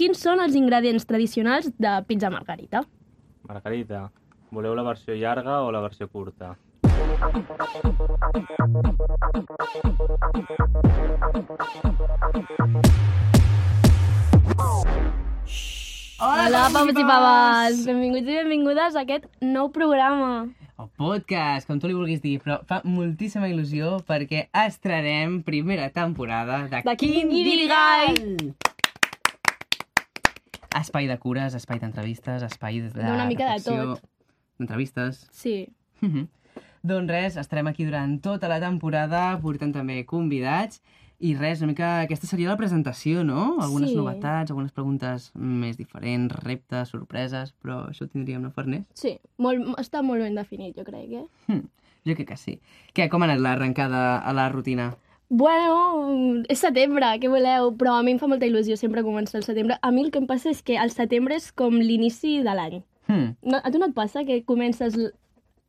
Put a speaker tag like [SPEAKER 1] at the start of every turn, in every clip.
[SPEAKER 1] Quins són els ingredients tradicionals de pizza margarita?
[SPEAKER 2] Margarita, voleu la versió llarga o la versió curta?
[SPEAKER 1] Hola, papas i papas! Benvinguts i benvingudes a aquest nou programa.
[SPEAKER 3] O podcast, com tu li vulguis dir, però fa moltíssima il·lusió perquè estrenarem primera temporada de,
[SPEAKER 1] De Quin Guirigall!
[SPEAKER 3] Espai de cures, espai d'entrevistes, espai de
[SPEAKER 1] D'una mica de
[SPEAKER 3] reflexió,
[SPEAKER 1] tot.
[SPEAKER 3] D'entrevistes.
[SPEAKER 1] Sí,
[SPEAKER 3] Mhm. doncs res, estarem aquí durant tota la temporada, portant també convidats. I res, una mica... Aquesta seria la presentació, no? Algunes
[SPEAKER 1] Sí.
[SPEAKER 3] novetats, algunes preguntes més diferents, reptes, sorpreses, però això ho tindríem, no, Farners?
[SPEAKER 1] sí. Molt, està molt ben definit, jo crec, eh?
[SPEAKER 3] Hm, jo crec que sí. Què, com ha anat l'arrencada a la rutina?
[SPEAKER 1] Bueno, és setembre, què voleu? Però a mi em fa molta il·lusió sempre començar el setembre. A mi el que em passa és que el setembre és com l'inici de l'any.
[SPEAKER 3] Hm,
[SPEAKER 1] No, a tu no et passa que comences l-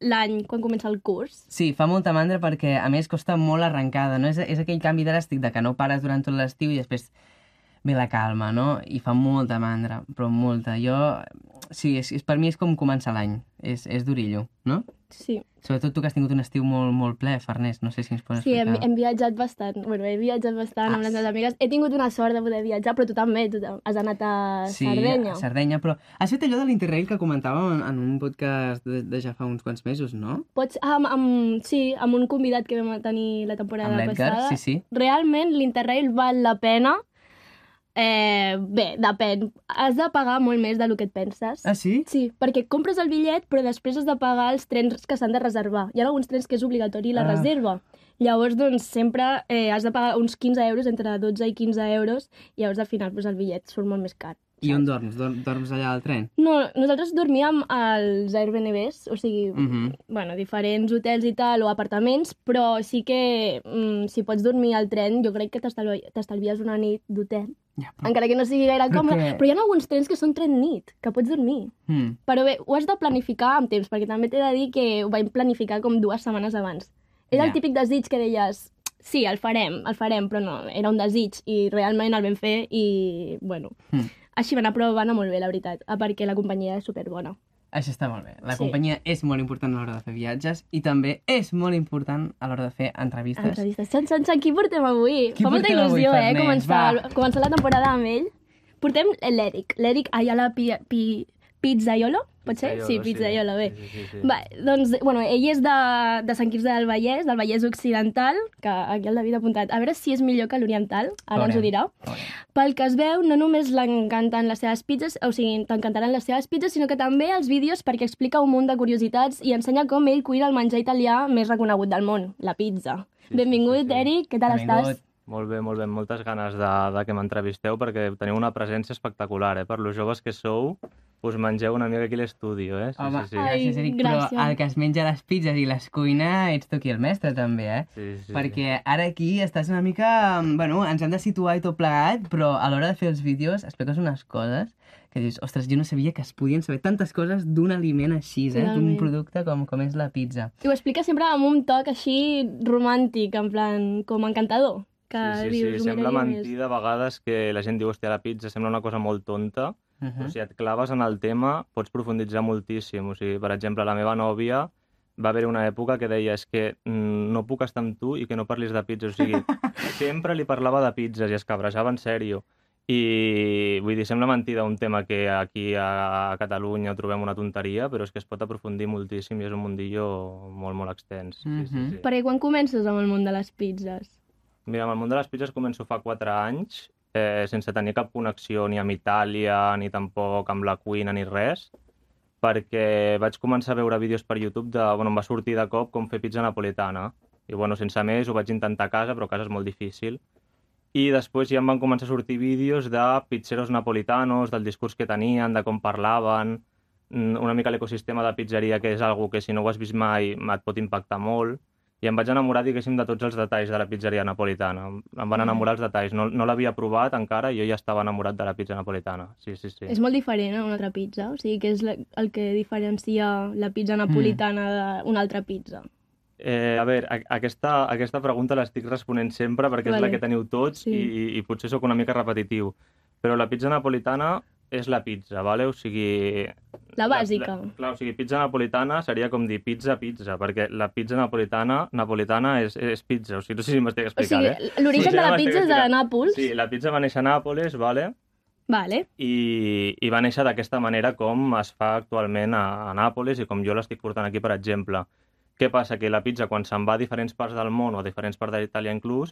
[SPEAKER 1] l'any quan comença el curs?
[SPEAKER 3] Sí, fa molta mandra perquè, a més, costa molt l'arrencada, no? És, és aquell canvi dràstic de que no pares durant tot l'estiu i després ve la calma, no? I fa molta mandra, però molta. Jo, sí, és, és, per mi és com començar l'any. És, és durillo, no?
[SPEAKER 1] Sí,
[SPEAKER 3] Sobretot tu que has tingut un estiu molt, molt ple, Farners. No sé si ens pots
[SPEAKER 1] sí hem,
[SPEAKER 3] explicar.
[SPEAKER 1] hem viatjat bastant. Bueno, he viatjat bastant
[SPEAKER 3] Ah,
[SPEAKER 1] amb les
[SPEAKER 3] sí.
[SPEAKER 1] meves amigues. He tingut una sort de poder viatjar, però tu també, tu tam- has anat a
[SPEAKER 3] Sí,
[SPEAKER 1] Sardenya.
[SPEAKER 3] a Sardenya, però has fet allò de l'Interrail que comentàvem en, en un podcast de, de ja fa uns quants mesos, no?
[SPEAKER 1] Pots, amb, amb, sí, amb un convidat que vam tenir la
[SPEAKER 3] Amb
[SPEAKER 1] temporada
[SPEAKER 3] l'Edgar,
[SPEAKER 1] passada.
[SPEAKER 3] sí, sí.
[SPEAKER 1] realment l'Interrail val la pena? Eh, bé, depèn. Has de pagar molt més del que et penses.
[SPEAKER 3] Ah, sí?
[SPEAKER 1] Sí, perquè compres el bitllet però després has de pagar els trens que s'han de reservar. Hi ha alguns trens que és obligatori la
[SPEAKER 3] Ah.
[SPEAKER 1] reserva. Llavors, doncs, sempre eh, has de pagar uns 15 euros, entre 12 i 15 euros, i llavors al final doncs, el bitllet surt molt més car.
[SPEAKER 3] I on dorms? Dor dorms allà al tren?
[SPEAKER 1] No, nosaltres dormíem als Airbnbs, o sigui,
[SPEAKER 3] Mhm.
[SPEAKER 1] bueno, diferents hotels i tal, o apartaments, però sí que mm, si pots dormir al tren, jo crec que t'estalvi- t'estalvies una nit d'hotel,
[SPEAKER 3] Ja, però...
[SPEAKER 1] encara que no sigui gaire
[SPEAKER 3] Però
[SPEAKER 1] còmode.
[SPEAKER 3] que-
[SPEAKER 1] Però hi ha alguns trens que són tren nit, que pots dormir.
[SPEAKER 3] Hm.
[SPEAKER 1] Però bé, ho has de planificar amb temps, perquè també t'he de dir que ho vam planificar com dues setmanes abans. És el
[SPEAKER 3] Ja.
[SPEAKER 1] típic desig que deies, sí, el farem, el farem, però no, era un desig, i realment el vam fer, i bueno...
[SPEAKER 3] Mm.
[SPEAKER 1] Així va anar, però va anar molt bé, la veritat, ah, perquè la companyia és superbona.
[SPEAKER 3] Això està molt bé. La
[SPEAKER 1] Sí.
[SPEAKER 3] companyia és molt important a l'hora de fer viatges i també és molt important a l'hora de fer entrevistes.
[SPEAKER 1] Entrevistes. Xan, xan, xan, qui portem avui?
[SPEAKER 3] Qui
[SPEAKER 1] Fa molta
[SPEAKER 3] portem avui,
[SPEAKER 1] il·lusió, eh,
[SPEAKER 3] Farners?
[SPEAKER 1] començar,
[SPEAKER 3] Va.
[SPEAKER 1] començar la temporada amb ell. Portem l'Eric. L'Eric Ayala Pi, Pi, Pizzaiolo, pot ser?
[SPEAKER 2] Pizzaiolo,
[SPEAKER 1] sí, Pizzaiolo, bé.
[SPEAKER 2] Sí, sí, sí.
[SPEAKER 1] Va, doncs, bueno, ell és de, de Sant Quirze del Vallès, del Vallès Occidental, que aquí el David ha apuntat. A veure si és millor que l'Oriental, ara ens ho
[SPEAKER 3] Veurem.
[SPEAKER 1] dirà.
[SPEAKER 3] Veurem.
[SPEAKER 1] Pel que es veu, no només l'encanten les seves pizzas, o sigui, t'encantaran les seves pizzas, sinó que també els vídeos perquè explica un munt de curiositats i ensenya com ell cuina el menjar italià més reconegut del món, la pizza.
[SPEAKER 2] sí,
[SPEAKER 1] Benvingut,
[SPEAKER 2] sí, sí.
[SPEAKER 1] Eric, què tal
[SPEAKER 3] Benvingut.
[SPEAKER 1] estàs?
[SPEAKER 2] Molt bé, molt bé. Moltes ganes de, de que m'entrevisteu perquè teniu una presència espectacular, eh? Per los joves que sou, us mengeu una mica aquí l'estudio, eh? Sí,
[SPEAKER 3] Home,
[SPEAKER 2] sí, sí.
[SPEAKER 1] Ai,
[SPEAKER 3] gràcies, Eric,
[SPEAKER 1] gràcies.
[SPEAKER 3] però el que es menja les pizzas i les cuina ets tu qui el mestre, també, eh?
[SPEAKER 2] sí, sí, sí.
[SPEAKER 3] Perquè ara aquí estàs una mica... mm, Bueno, ens hem de situar i tot plegat, però a l'hora de fer els vídeos expliques unes coses que dius, ostres, jo no sabia que es podien saber tantes coses d'un aliment així, eh? D'un
[SPEAKER 1] Totalment.
[SPEAKER 3] producte com, com és la pizza.
[SPEAKER 1] I ho explica sempre amb un toc així romàntic, en plan, com encantador. Que
[SPEAKER 2] Sí, sí,
[SPEAKER 1] Ah, dius,
[SPEAKER 2] sí. Sembla
[SPEAKER 1] "Mira, què més".
[SPEAKER 2] mentida a vegades que la gent diu, hòstia, la pizza sembla una cosa molt tonta,
[SPEAKER 3] Uh
[SPEAKER 2] Però si et claves en el tema, pots profunditzar moltíssim. O sigui, per exemple, la meva nòvia va haver una època que deia és que mm, no puc estar amb tu i que no parlis de pizza. O sigui, sempre li parlava de pizzas i es cabrejava en sèrio. I vull dir, sembla mentida un tema que aquí a Catalunya trobem una tonteria, però és que es pot aprofundir moltíssim i és un mundillo molt, molt extens. Sí, sí,
[SPEAKER 3] Mhm.
[SPEAKER 2] sí.
[SPEAKER 1] Perquè quan comences amb el món de les pizzas?
[SPEAKER 2] Mira, amb el món de les pizzas començo fa 4 anys, eh, sense tenir cap connexió ni amb Itàlia, ni tampoc amb la cuina, ni res, perquè vaig començar a veure vídeos per YouTube de... Bueno, em va sortir de cop com fer pizza napolitana. I, bueno, sense més, ho vaig intentar a casa, però a casa és molt difícil. I després ja em van començar a sortir vídeos de pizzeros napolitanos, del discurs que tenien, de com parlaven, mm, una mica l'ecosistema de pizzeria, que és algo que si no ho has vist mai et pot impactar molt i em vaig enamorar, diguéssim, de tots els detalls de la pizzeria napolitana. Em van enamorar els detalls. No, no l'havia provat encara i jo ja estava enamorat de la pizza napolitana. Sí, sí, sí.
[SPEAKER 1] És molt diferent a una altra pizza, o sigui que és la- el que diferencia la pizza napolitana mm. d'una altra pizza.
[SPEAKER 2] Eh, a veure, a aquesta, aquesta pregunta l'estic responent sempre perquè és
[SPEAKER 1] Vale.
[SPEAKER 2] la que teniu tots
[SPEAKER 1] Sí.
[SPEAKER 2] i, i potser sóc una mica repetitiu. Però la pizza napolitana és la pizza, vale? O sigui...
[SPEAKER 1] La bàsica.
[SPEAKER 2] La, clar, o sigui, pizza napolitana seria com dir pizza, pizza, perquè la pizza napolitana napolitana és, és pizza, o sigui, no sé si m'estic
[SPEAKER 1] O
[SPEAKER 2] explicant,
[SPEAKER 1] sigui,
[SPEAKER 2] eh?
[SPEAKER 1] l'origen
[SPEAKER 2] Sí,
[SPEAKER 1] de la
[SPEAKER 2] ja
[SPEAKER 1] pizza és de
[SPEAKER 2] m'estic
[SPEAKER 1] Nàpols.
[SPEAKER 2] Sí, la pizza va néixer a Nàpoles, vale?
[SPEAKER 1] Vale.
[SPEAKER 2] I, i va néixer d'aquesta manera com es fa actualment a, a Nàpolis i com jo l'estic portant aquí, per exemple. Què passa? Que la pizza, quan se'n va a diferents parts del món o a diferents parts d'Itàlia inclús,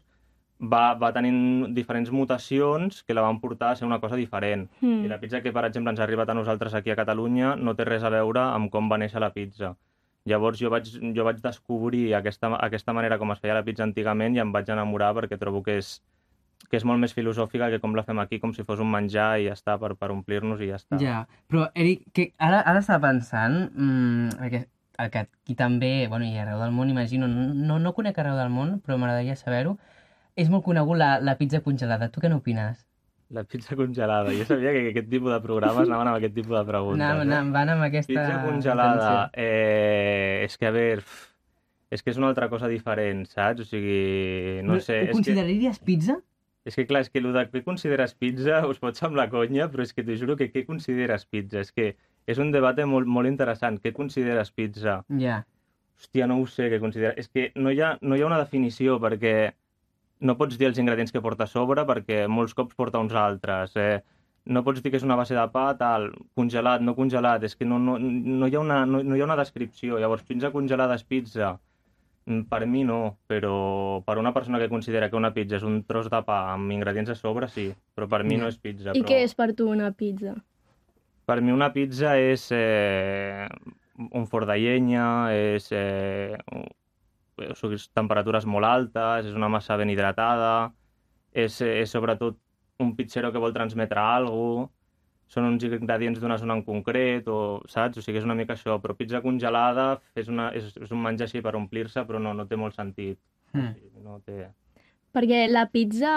[SPEAKER 2] va, va tenint diferents mutacions que la van portar a ser una cosa diferent. I
[SPEAKER 1] Mm.
[SPEAKER 2] la pizza que, per exemple, ens ha arribat a nosaltres aquí a Catalunya no té res a veure amb com va néixer la pizza. Llavors jo vaig, jo vaig descobrir aquesta, aquesta manera com es feia la pizza antigament i em vaig enamorar perquè trobo que és, que és molt més filosòfica que com la fem aquí, com si fos un menjar i ja està, per, per omplir-nos i ja està.
[SPEAKER 3] Ja, però Eric, que ara, ara estava pensant, mmm, perquè el que aquí també, bueno, i arreu del món, imagino, no, no conec arreu del món, però m'agradaria saber-ho, és molt conegut la, la pizza congelada. Tu què n'opines?
[SPEAKER 2] La pizza congelada. Jo sabia que aquest tipus de programes anaven amb aquest tipus de preguntes.
[SPEAKER 3] Anam,
[SPEAKER 2] eh?
[SPEAKER 3] anam, van amb aquesta...
[SPEAKER 2] Pizza congelada.
[SPEAKER 3] intenció.
[SPEAKER 2] Eh, és que, a veure, pf, és que és una altra cosa diferent, saps? O sigui, no sé...
[SPEAKER 3] Ho
[SPEAKER 2] és que...
[SPEAKER 3] consideraries pizza?
[SPEAKER 2] És que clar, és que el de què consideres pizza us pot semblar conya, però és que t'ho juro que què consideres pizza? És que és un debat molt, molt interessant. Què consideres pizza?
[SPEAKER 3] Ja,
[SPEAKER 2] Hòstia, no ho sé què consideres. És que no hi ha, no hi ha una definició perquè no pots dir els ingredients que porta a sobre perquè molts cops porta uns altres. Eh? No pots dir que és una base de pa, tal, congelat, no congelat. És que no, no, no, hi, ha una, no, no hi ha una descripció. Llavors, pizza congelada és pizza. Mm, Per mi no, però per una persona que considera que una pizza és un tros de pa amb ingredients a sobre, sí. Però per mi no és pizza.
[SPEAKER 1] I
[SPEAKER 2] però...
[SPEAKER 1] què és per tu una pizza?
[SPEAKER 2] Per mi una pizza és eh, un forn de llenya, és, eh, un- o sigui, és temperatures molt altes, és una massa ben hidratada, és, eh, és sobretot un pizzero que vol transmetre alguna cosa, són uns ingredients d'una zona en concret, o, saps? O sigui, és una mica això, però pizza congelada és, una, és, és un menjar així per omplir-se, però no, no té molt sentit.
[SPEAKER 3] Mm.
[SPEAKER 2] O sigui, no té...
[SPEAKER 1] Perquè la pizza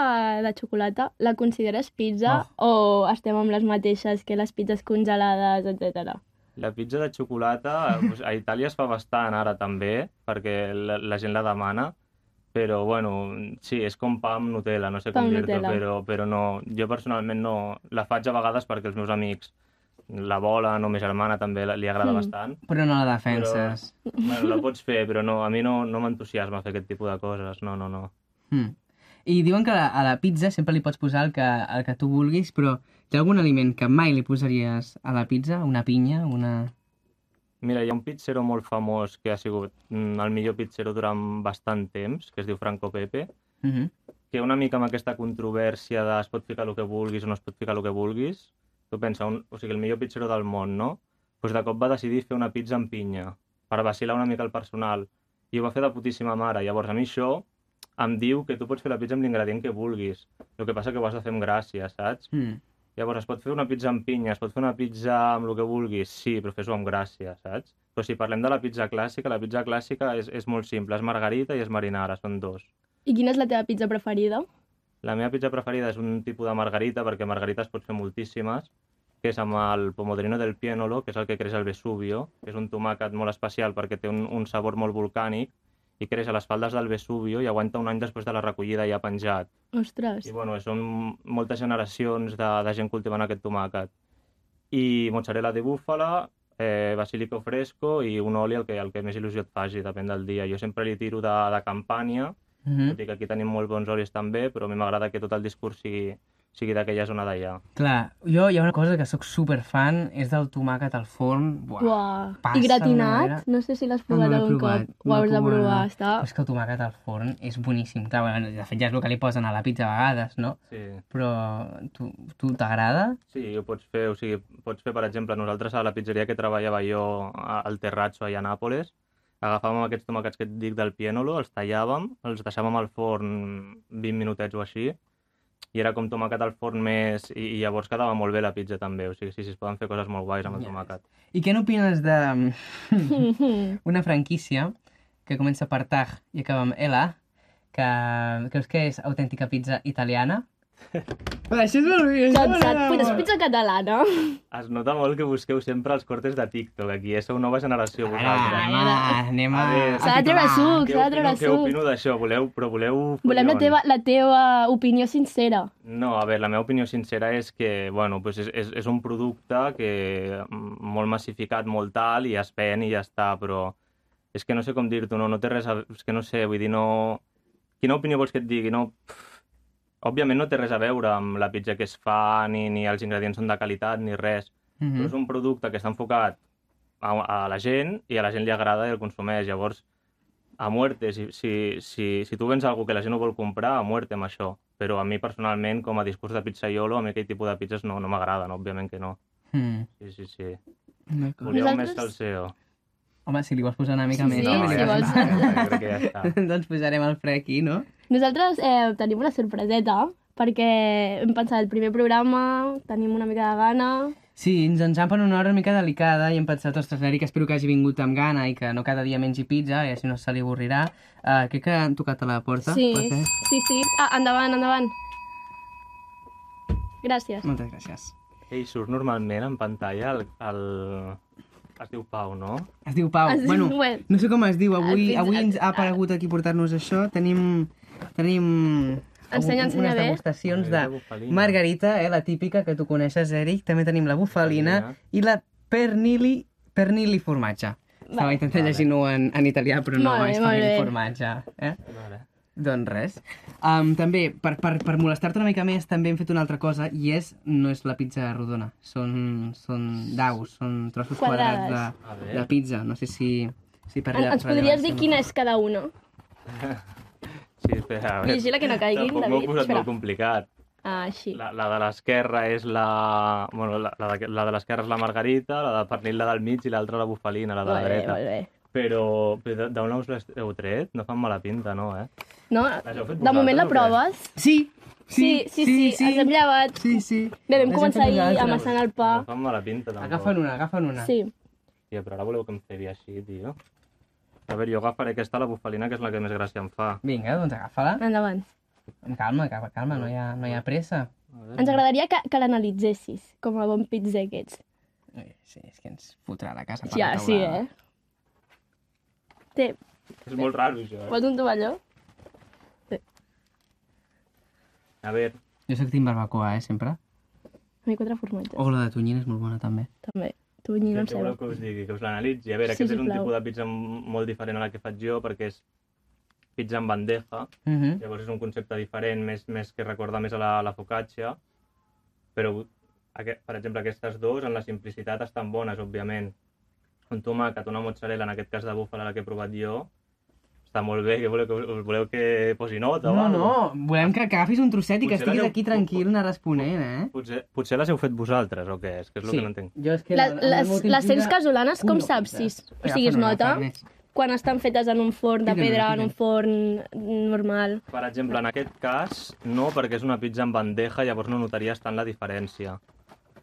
[SPEAKER 1] de xocolata la consideres
[SPEAKER 2] Ah.
[SPEAKER 1] pizza o estem amb les mateixes que les pizzas congelades, etc.
[SPEAKER 2] La pizza de xocolata doncs, a Itàlia es fa bastant ara també, perquè la, la gent la demana, però bueno, sí, és com pa amb Nutella, no sé
[SPEAKER 1] Pa
[SPEAKER 2] com
[SPEAKER 1] amb
[SPEAKER 2] dir-t'ho,
[SPEAKER 1] Nutella.
[SPEAKER 2] però, però no, jo personalment no... La faig a vegades perquè els meus amics la volen, o mi germana també la- li agrada
[SPEAKER 1] Mm.
[SPEAKER 2] bastant.
[SPEAKER 3] però no la defenses.
[SPEAKER 2] Bueno, la pots fer, però no, a mi no, no m'entusiasma fer aquest tipus de coses, no, no, no.
[SPEAKER 3] Mm. I diuen que a la, a la pizza sempre li pots posar el que, el que tu vulguis, però hi ha algun aliment que mai li posaries a la pizza? Una pinya? Una...
[SPEAKER 2] Mira, hi ha un pizzero molt famós que ha sigut mm, el millor pizzero durant bastant temps, que es diu Franco Pepe,
[SPEAKER 3] Mm
[SPEAKER 2] Mhm.
[SPEAKER 3] -hmm.
[SPEAKER 2] que una mica amb aquesta controvèrsia de es pot ficar el que vulguis o no es pot ficar el que vulguis, tu pensa, un, o sigui, el millor pizzero del món, no? Doncs de cop va decidir fer una pizza amb pinya, per vacilar una mica el personal, i ho va fer de putíssima mare. Llavors, a mi això em diu que tu pots fer la pizza amb l'ingredient que vulguis, el que passa que ho has de fer amb gràcia, saps?
[SPEAKER 3] Mm.
[SPEAKER 2] Llavors, es pot fer una pizza amb pinya, es pot fer una pizza amb el que vulguis, sí, però fes-ho amb gràcia, saps? Però si parlem de la pizza clàssica, la pizza clàssica és, és molt simple, és margarita i és marinara, són dos.
[SPEAKER 1] I quina és la teva pizza preferida?
[SPEAKER 2] La meva pizza preferida és un tipus de margarita, perquè margarita es pot fer moltíssimes, que és amb el pomodrino del piénolo, que és el que creix al Vesubio, que és un tomàquet molt especial perquè té un, un sabor molt volcànic i creix a les faldes del Vesubio i aguanta un any després de la recollida ja penjat.
[SPEAKER 1] Ostres,
[SPEAKER 2] I bueno, són moltes generacions de, de gent cultivant aquest tomàquet. I mozzarella de búfala, eh, basilico fresco i un oli el que, el que més il·lusió et faci, depèn del dia. Jo sempre li tiro de, de campània,
[SPEAKER 3] Mm -hmm.
[SPEAKER 2] tot i que aquí tenim molt bons olis també, però a mi m'agrada que tot el discurs sigui, sigui d'aquella zona d'allà.
[SPEAKER 3] Clar, jo hi ha una cosa que sóc super fan, és del tomàquet al forn. Buah.
[SPEAKER 1] uau.
[SPEAKER 3] passa
[SPEAKER 1] I
[SPEAKER 3] d'una manera.
[SPEAKER 1] gratinat? No sé si l'has
[SPEAKER 3] No, no
[SPEAKER 1] provat
[SPEAKER 3] l'he
[SPEAKER 1] algun
[SPEAKER 3] provat,
[SPEAKER 1] cop.
[SPEAKER 3] no
[SPEAKER 1] Ho hauràs de
[SPEAKER 3] puc
[SPEAKER 1] provar,
[SPEAKER 3] anar.
[SPEAKER 1] està...
[SPEAKER 3] Però És que el tomàquet al forn és boníssim. Clar, bueno, de fet ja és el que li posen a la pizza a vegades, no?
[SPEAKER 2] Sí,
[SPEAKER 3] Però tu, tu t'agrada?
[SPEAKER 2] sí, ho pots fer, o sigui, pots fer, per exemple, nosaltres a la pizzeria que treballava jo a- al Terrazzo, allà a Nàpoles, agafàvem aquests tomàquets que et dic del piénolo, els tallàvem, els deixàvem al forn 20 minutets o així, i era com tomàquet al forn més... I, i llavors quedava molt bé la pizza també, o sigui, sí, sí, es poden fer coses molt guais amb el
[SPEAKER 3] Ja
[SPEAKER 2] tomàquet.
[SPEAKER 3] I què n'opines de mm,
[SPEAKER 1] Mhm.
[SPEAKER 3] una franquícia que comença per Taj i acaba amb L, que creus que és autèntica pizza italiana? Però això és molt bé, això
[SPEAKER 1] Cansat,
[SPEAKER 3] m'agrada
[SPEAKER 1] però és
[SPEAKER 3] molt.
[SPEAKER 1] pizza catalana.
[SPEAKER 2] Es nota molt que busqueu sempre els cortes de TikTok. Aquí ja sou nova generació
[SPEAKER 3] Ara,
[SPEAKER 2] vosaltres.
[SPEAKER 3] anem a... Anem a...
[SPEAKER 2] Adéu.
[SPEAKER 1] S'ha de treure suc,
[SPEAKER 2] Què
[SPEAKER 1] s'ha de
[SPEAKER 2] opino,
[SPEAKER 1] treure
[SPEAKER 2] què
[SPEAKER 1] suc.
[SPEAKER 2] opino d'això? Voleu, però voleu...
[SPEAKER 1] Volem la
[SPEAKER 2] opinions.
[SPEAKER 1] teva, la teva opinió sincera.
[SPEAKER 2] No, a veure, la meva opinió sincera és que, bueno, pues és, és, és un producte que mm, molt massificat, molt tal, i es ven i ja està, però és que no sé com dir-t'ho, no, no té res a... És que no sé, vull dir, no... Quina opinió vols que et digui? No... pff, Òbviament no té res a veure amb la pizza que es fa, ni, ni els ingredients són de qualitat, ni res.
[SPEAKER 3] Mhm.
[SPEAKER 1] Mm-hmm.
[SPEAKER 2] Però és un producte que està enfocat a, a la gent i a la gent li agrada i el consumeix. Llavors, a muerte, si, si, si, si tu vens algú que la gent no vol comprar, a muerte amb això. Però a mi personalment, com a discurs de pizzaiolo, a mi aquell tipus de pizzas no, no m'agraden, òbviament que no.
[SPEAKER 3] Mm.
[SPEAKER 2] Sí, sí, sí.
[SPEAKER 3] D'acord.
[SPEAKER 2] Volíeu
[SPEAKER 1] Vosaltres-
[SPEAKER 2] més salseo.
[SPEAKER 3] Mhm. Home, si li vols posar una mica
[SPEAKER 1] Sí,
[SPEAKER 3] més...
[SPEAKER 1] sí,
[SPEAKER 3] no,
[SPEAKER 1] si
[SPEAKER 3] li
[SPEAKER 2] ja
[SPEAKER 1] vols.
[SPEAKER 2] està, ja està, crec que ja està.
[SPEAKER 3] doncs posarem el fre aquí, no?
[SPEAKER 1] Nosaltres eh, tenim una sorpreseta, perquè hem pensat el primer programa, tenim una mica de gana...
[SPEAKER 3] Sí, ens ens han per una hora una mica delicada i hem pensat, ostres, l'Eric, espero que hagi vingut amb gana i que no cada dia mengi pizza i així no se li avorrirà. Uh, crec que han tocat a la
[SPEAKER 2] Ah,
[SPEAKER 3] porta.
[SPEAKER 1] Sí,
[SPEAKER 3] pot ser?
[SPEAKER 1] sí, sí. Ah, endavant, endavant. Gràcies.
[SPEAKER 3] Moltes gràcies.
[SPEAKER 2] Ei, surt normalment en pantalla el... el... Es diu Pau, no?
[SPEAKER 3] Es diu
[SPEAKER 2] Ah,
[SPEAKER 3] Pau.
[SPEAKER 1] Es diu-
[SPEAKER 3] bueno,
[SPEAKER 1] bueno.
[SPEAKER 3] no sé com es diu. Avui,
[SPEAKER 1] El pizza-
[SPEAKER 3] avui ens ha aparegut aquí a portar-nos això. Tenim... tenim
[SPEAKER 1] Ensenya,
[SPEAKER 3] algú-
[SPEAKER 1] ensenya
[SPEAKER 3] unes
[SPEAKER 1] bé.
[SPEAKER 3] degustacions
[SPEAKER 2] Margarita
[SPEAKER 3] de
[SPEAKER 2] Bufalina.
[SPEAKER 3] margarita, eh, la típica que tu coneixes, Eric. També tenim la bufalina i la pernili, pernili formatge. Estava intentant llegir-ho en, en italià, però no,
[SPEAKER 1] Molt bé,
[SPEAKER 3] és
[SPEAKER 1] molt
[SPEAKER 3] pernili
[SPEAKER 1] bé.
[SPEAKER 3] formatge. Eh?
[SPEAKER 2] Vale.
[SPEAKER 3] Doncs res. Um, també, per, per, per molestar-te una mica més, també hem fet una altra cosa, i és, no és la pizza rodona, són, són daus, són trossos
[SPEAKER 1] Quadrades.
[SPEAKER 3] quadrats de,
[SPEAKER 2] A
[SPEAKER 3] de
[SPEAKER 2] veure.
[SPEAKER 3] pizza. No sé si... si per,
[SPEAKER 1] En, ens podries dir quina és cada una?
[SPEAKER 2] Sí, espera, a veure.
[SPEAKER 1] Vigila que no caiguin,
[SPEAKER 2] Tampoc m'ho he
[SPEAKER 1] David.
[SPEAKER 2] posat
[SPEAKER 1] Espera.
[SPEAKER 2] molt complicat.
[SPEAKER 1] Ah, així.
[SPEAKER 2] La, la de l'esquerra és la... Bueno, la, la, de, la de l'esquerra és la margarita, la de pernil la del mig i l'altra la bufalina, la de la
[SPEAKER 1] Molt bé,
[SPEAKER 2] dreta.
[SPEAKER 1] molt bé.
[SPEAKER 2] Però, però d'on us l'heu tret? No fan mala pinta, no, eh?
[SPEAKER 1] No?
[SPEAKER 2] heu fet
[SPEAKER 1] De moment la
[SPEAKER 2] vosaltres o què?
[SPEAKER 1] proves.
[SPEAKER 3] Sí,
[SPEAKER 1] Sí, sí, sí, ens hem llevat.
[SPEAKER 3] Sí, sí.
[SPEAKER 1] Bé, vam
[SPEAKER 3] Les hem
[SPEAKER 1] començar
[SPEAKER 3] fet
[SPEAKER 1] ahir
[SPEAKER 3] nosaltres.
[SPEAKER 1] amassant el pa.
[SPEAKER 2] No fan mala pinta, tampoc.
[SPEAKER 3] Agafa'n una, agafa'n una.
[SPEAKER 1] Sí.
[SPEAKER 2] Tia, però ara voleu que em cebi així, tio. A veure, jo agafaré aquesta, la bufalina, que és la que més gràcia em fa.
[SPEAKER 3] Vinga, doncs agafa-la.
[SPEAKER 1] Endavant.
[SPEAKER 3] Amb calma, calma, calma, no hi ha, no hi ha pressa.
[SPEAKER 2] A veure.
[SPEAKER 1] Ens agradaria que, que l'analitzessis, com a bon pizza que ets.
[SPEAKER 3] Ai, Sí, és que ens fotrà la casa per
[SPEAKER 1] Ja,
[SPEAKER 3] la
[SPEAKER 1] sí,
[SPEAKER 3] teulada.
[SPEAKER 1] eh? Té,
[SPEAKER 2] És molt raro, això, eh?
[SPEAKER 1] vols un tovalló?
[SPEAKER 2] A veure,
[SPEAKER 3] Jo soc team barbacoa, eh, sempre.
[SPEAKER 1] A mi quatre formatges,
[SPEAKER 3] O la de tonyina és molt bona, també.
[SPEAKER 1] també. Tu, Nyina, em
[SPEAKER 2] què voleu
[SPEAKER 1] sembla.
[SPEAKER 2] que us digui? Que us l'analitzi? A veure,
[SPEAKER 1] Sí,
[SPEAKER 2] aquest és un
[SPEAKER 1] sisplau.
[SPEAKER 2] tipus de pizza molt diferent a la que faig jo, perquè és pizza en bandeja,
[SPEAKER 3] Mhm.
[SPEAKER 2] Llavors és un concepte diferent, més, més que recorda més a la, la focaccia, però, aquest, per exemple, aquestes dues en la simplicitat estan bones, òbviament. Un tomàquet, una mozzarella, en aquest cas de búfala, la que he provat jo, està molt bé, que voleu que, us voleu que posi nota o
[SPEAKER 3] No,
[SPEAKER 2] alguna cosa?
[SPEAKER 3] no, volem que agafis un trosset i que
[SPEAKER 2] Potser
[SPEAKER 3] estiguis
[SPEAKER 2] l'aneu-
[SPEAKER 3] aquí tranquil, anar responent, eh?
[SPEAKER 2] Potser, potser les heu fet vosaltres, o què és? Que és el que no entenc.
[SPEAKER 3] Jo és que
[SPEAKER 1] La- Les, les cents casolanes, com saps si, o sigui, es nota quan estan fetes en un forn de
[SPEAKER 3] Tira-ne,
[SPEAKER 1] pedra, en
[SPEAKER 3] tira-ne.
[SPEAKER 1] un forn normal?
[SPEAKER 2] Per exemple, en aquest cas, no, perquè és una pizza en bandeja, llavors no notaries tant la diferència.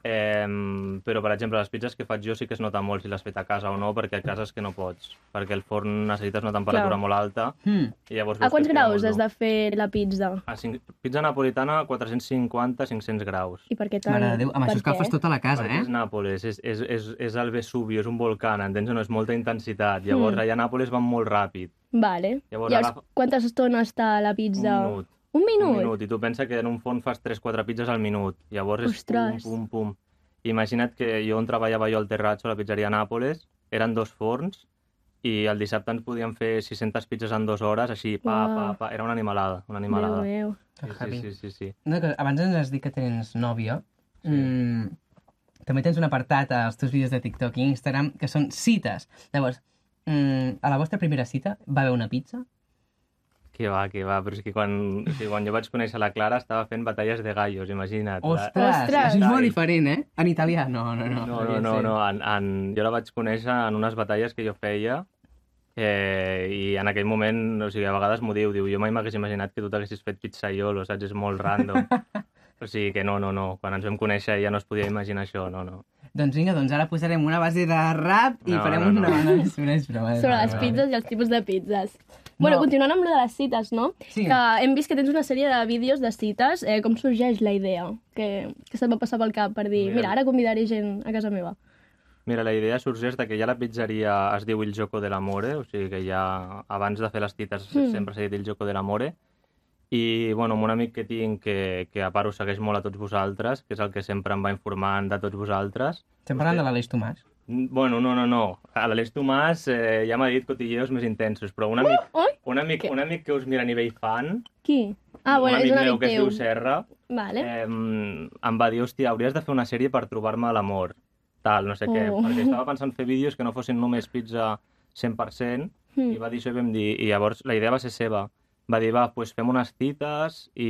[SPEAKER 2] Eh, però, per exemple, les pizzas que faig jo sí que es nota molt si l'has fet a casa o no, perquè a casa és que no pots, perquè el forn necessites una temperatura
[SPEAKER 1] Clar.
[SPEAKER 2] molt alta.
[SPEAKER 3] Hmm.
[SPEAKER 2] I llavors
[SPEAKER 1] A
[SPEAKER 2] veus
[SPEAKER 1] quants
[SPEAKER 2] que queda
[SPEAKER 1] graus
[SPEAKER 2] molt
[SPEAKER 1] has de fer la pizza?
[SPEAKER 2] dur. A cinc... Pizza napolitana, 450-500 graus.
[SPEAKER 1] I per què tant?
[SPEAKER 3] Mare de Déu, amb això
[SPEAKER 1] Per què?
[SPEAKER 3] escalfes tota la casa,
[SPEAKER 2] Perquè
[SPEAKER 3] eh?
[SPEAKER 2] és Nàpoles, és, és, és, és el Vesubio, és un volcà, entens? o No és molta intensitat.
[SPEAKER 1] Hmm.
[SPEAKER 2] Llavors, allà a Nàpoles van molt ràpid.
[SPEAKER 1] Vale.
[SPEAKER 2] Llavors
[SPEAKER 1] Llavors, Llavors
[SPEAKER 2] agafa-
[SPEAKER 1] quantes estones està la
[SPEAKER 2] Un
[SPEAKER 1] pizza?
[SPEAKER 2] minut.
[SPEAKER 1] Un
[SPEAKER 2] Un
[SPEAKER 1] minut?
[SPEAKER 2] minut, i tu pensa que en un forn fas 3-4 pizzas al minut. Llavors és pum,
[SPEAKER 1] Ostres.
[SPEAKER 2] pum, pum. Imagina't que jo on treballava jo al Terrazzo, a la pizzeria Nàpoles, eren dos forns i el dissabte ens podíem fer 600 pizzas en dues hores, així, pa,
[SPEAKER 1] Uau.
[SPEAKER 2] pa, pa. Era una animalada, una
[SPEAKER 1] Déu
[SPEAKER 2] animalada.
[SPEAKER 1] meu.
[SPEAKER 3] Que
[SPEAKER 2] Sí,
[SPEAKER 3] heavy.
[SPEAKER 2] sí, sí, sí, sí.
[SPEAKER 3] Una cosa, abans ens has dit que tens nòvia.
[SPEAKER 2] Sí.
[SPEAKER 3] Mm, també tens un apartat als teus vídeos de TikTok i Instagram que són cites. Llavors, mm, a la vostra primera cita va haver una pizza?
[SPEAKER 2] Que va, que va, però és que quan, o sigui, quan jo vaig conèixer la Clara estava fent batalles de gallos, imagina't. La-
[SPEAKER 3] Ostres,
[SPEAKER 1] Ostres.
[SPEAKER 3] això és molt diferent, eh? En italià? No, no, no.
[SPEAKER 2] No, no, no, no. En, en, jo la vaig conèixer en unes batalles que jo feia eh, i en aquell moment, o sigui, a vegades m'ho diu, diu, jo mai m'hagués imaginat que tu t'haguessis fet pizzaiolo, saps? És molt random. o sigui que no, no, no. Quan ens vam conèixer ja no es podia imaginar això, no, no.
[SPEAKER 3] Doncs vinga, doncs ara posarem una base de rap i
[SPEAKER 2] No,
[SPEAKER 3] farem
[SPEAKER 2] no, no.
[SPEAKER 3] una... No, no, és broma, és broma.
[SPEAKER 1] Sobre les
[SPEAKER 2] vale.
[SPEAKER 1] pizzas i els tipus de pizzas. Bueno, continuant amb lo de les cites, no?
[SPEAKER 3] Sí.
[SPEAKER 1] Que hem vist que tens una sèrie de vídeos de cites. Eh, com sorgeix la idea? Que, que se't va passar pel cap per dir,
[SPEAKER 2] Mira.
[SPEAKER 1] mira, ara convidaré gent a casa meva.
[SPEAKER 2] Mira, la idea sorgeix de que ja la pizzeria es diu Il Gioco dell'Amore, o sigui que ja abans de fer les tites
[SPEAKER 1] Mm.
[SPEAKER 2] sempre s'ha dit Il Gioco dell'Amore, i bueno, amb un amic que tinc que, que a part us segueix molt a tots vosaltres, que és el que sempre em va informant de tots vosaltres.
[SPEAKER 3] Estem parlant de l'Aleix Tomàs.
[SPEAKER 2] Mm, Bueno, no, no, no. A l'Aleix Tomàs eh, ja m'ha dit cotilleos més intensos, però un amic,
[SPEAKER 1] Oi?
[SPEAKER 2] un amic,
[SPEAKER 1] Uh! Què?
[SPEAKER 2] un amic que us mira a nivell fan,
[SPEAKER 1] Qui? Ah, bueno,
[SPEAKER 2] un
[SPEAKER 1] és un
[SPEAKER 2] meu
[SPEAKER 1] amic
[SPEAKER 2] que es
[SPEAKER 1] teu.
[SPEAKER 2] diu Serra,
[SPEAKER 1] Vale.
[SPEAKER 2] eh, em va dir, hòstia, hauries de fer una sèrie per trobar-me l'amor, tal, no sé què,
[SPEAKER 1] Oh.
[SPEAKER 2] perquè estava pensant fer vídeos que no fossin només pizza 100%,
[SPEAKER 1] Mm.
[SPEAKER 2] i va dir això i vam dir, i llavors la idea va ser seva. Va dir, va, doncs fem unes tites i,